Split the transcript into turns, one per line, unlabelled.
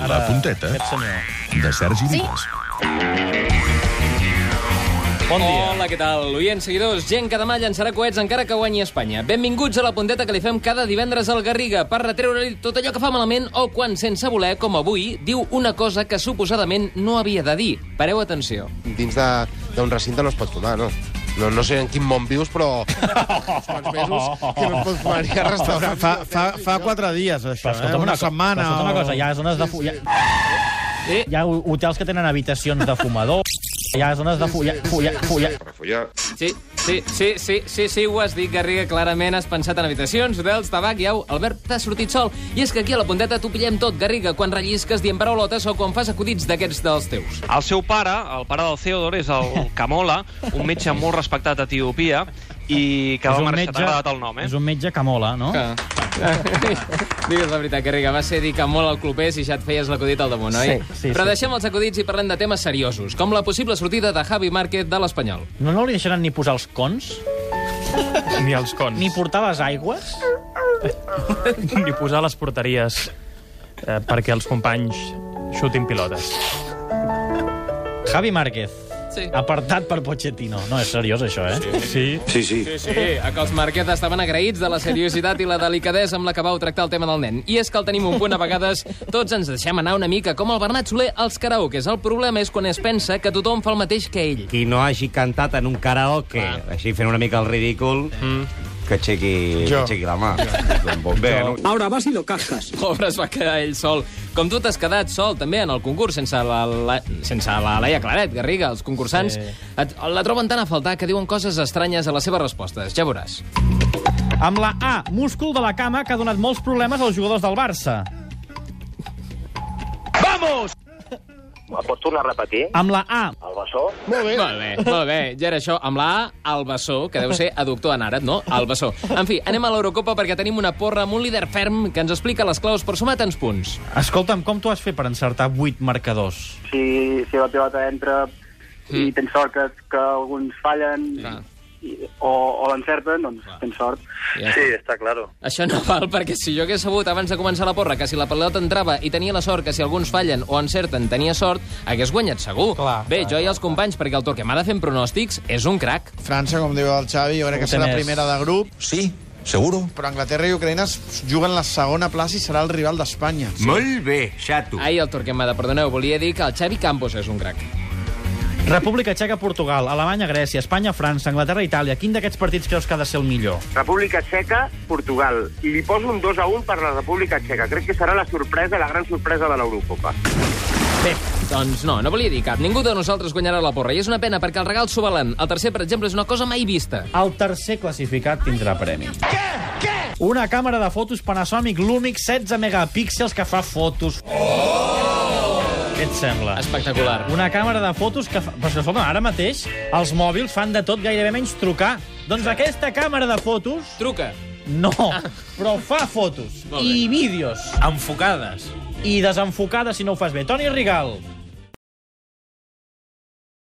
Ara,
La punteta.
Aquest senyor.
de Sergi Vives.
Bon dia.
Hola, què tal? Oients, seguidors, gent que demà llançarà coets encara que guanyi Espanya. Benvinguts a la punteta que li fem cada divendres al Garriga per retreure-li tot allò que fa malament o quan, sense voler, com avui, diu una cosa que suposadament no havia de dir. Pareu atenció.
dins de- d'un recinte no es pot fumar, no? No, no sé en quin món vius, però uns quants mesos que no es pot fumar ni al restaurant.
Fa, fa, fa quatre dies,
Però
això, eh?
escolta'm
Una,
co-
setmana.
però escolta'm una cosa, hi ha zones de... fu- Hi ha,
Eh,
hi ha ho- hotels que tenen habitacions de fumador, hi ha zones de... Fu... Hi ha, fu... hi ha, fu... hi ha-
sí, sí, sí, sí, sí, sí, ho has dit, Garriga, clarament has pensat en habitacions, hotels, tabac, i au, Albert, t'has sortit sol. I és que aquí a la punteta t'ho pillem tot, Garriga, quan rellisques dient paraulotes o quan fas acudits d'aquests dels teus.
El seu pare, el pare del Theodor, és el Camola, un metge molt respectat a Etiopia, i que va
És un
marxar, t'ha
metge...
agradat el nom, eh?
És un metge que mola, no?
Que... Digues la veritat, Garriga, va ser dir que molt al clopés i ja et feies l'acudit al damunt, oi?
Sí, sí,
Però
sí.
deixem els acudits i parlem de temes seriosos, com la possible sortida de Javi Márquez de l'Espanyol.
No, no li deixaran ni posar els cons,
Ni els cons.
ni portar les aigües.
ni posar les porteries eh, perquè els companys xutin pilotes.
Javi Márquez,
Sí.
apartat per Pochettino. No, és seriós, això, eh? Sí.
Sí.
Sí, Eh, a que els Márquez estaven agraïts de la seriositat i la delicadesa amb la que vau tractar el tema del nen. I és que el tenim un punt a vegades, tots ens deixem anar una mica, com el Bernat Soler als karaokes. El problema és quan es pensa que tothom fa el mateix que ell.
qui no hagi cantat en un karaoke, així fent una mica el ridícul, que aixequi, que aixequi la mà. Doncs Bé, no?
Pobre, es va quedar ell sol. Com tu t'has quedat sol, també, en el concurs, sense la, la, sense la Laia Claret, Garriga. Els concursants sí. et, la troben tan a faltar que diuen coses estranyes a les seves respostes. Ja veuràs.
Amb la A, múscul de la cama, que ha donat molts problemes als jugadors del Barça.
Pots tornar a repetir?
Amb la A,
El bessó?
Molt bé.
Molt bé, molt bé. Ja era això. Amb la A, el Bessó, que deu ser aductor en àrab, no? El Bessó. En fi, anem a l'Eurocopa perquè tenim una porra amb un líder ferm que ens explica les claus per sumar tants punts.
escolta'm, com t'ho has fet per encertar 8 marcadors?
Si, si la pilota entra i tens sort que, que alguns fallen
Clar.
i, o, o l'encerten, doncs tens sort.
Ja està.
està claro.
Això no val, perquè si jo hagués sabut abans de començar la porra que si la pelota entrava i tenia la sort que si alguns fallen o encerten tenia sort, hagués guanyat segur.
Clar,
Bé,
clar,
jo i els companys, perquè el Torquemada fent pronòstics és un crac.
França, com diu el Xavi, jo crec que serà
Ho té més.
primera de grup,
Sí, seguro.
però Anglaterra i Ucraïna es juguen la segona plaça i serà el rival d'Espanya.
Molt bé, xato.
Ai, el Torquemada, perdoneu, volia dir que el Xavi Campos és un crac.
República Txeca, Portugal, Alemanya, Grècia, Espanya, França, Anglaterra, Itàlia. Quin d'aquests partits creus que ha de ser el millor?
República Txeca, Portugal. I li poso un 2 a 1 per la República Txeca. Crec que serà la sorpresa, la gran sorpresa de l'Eurocopa.
Bé, doncs no, no volia dir cap. Ningú de nosaltres guanyarà la porra, i és una pena perquè el regal s'ho valen. El tercer, per exemple, és una cosa mai vista.
El tercer classificat tindrà premi. Què? Què? Una càmera de fotos Panasonic Lumix 16 megapíxels que fa fotos. Oh! Què et sembla?
Espectacular.
Una càmera de fotos que fa... Però és que, escolta, ara mateix els mòbils fan de tot gairebé menys trucar. Doncs aquesta càmera de fotos,
Truca.
no, però fa fotos
Molt bé.
i vídeos enfocades i desenfocades si no ho fas bé. Toni Rigal,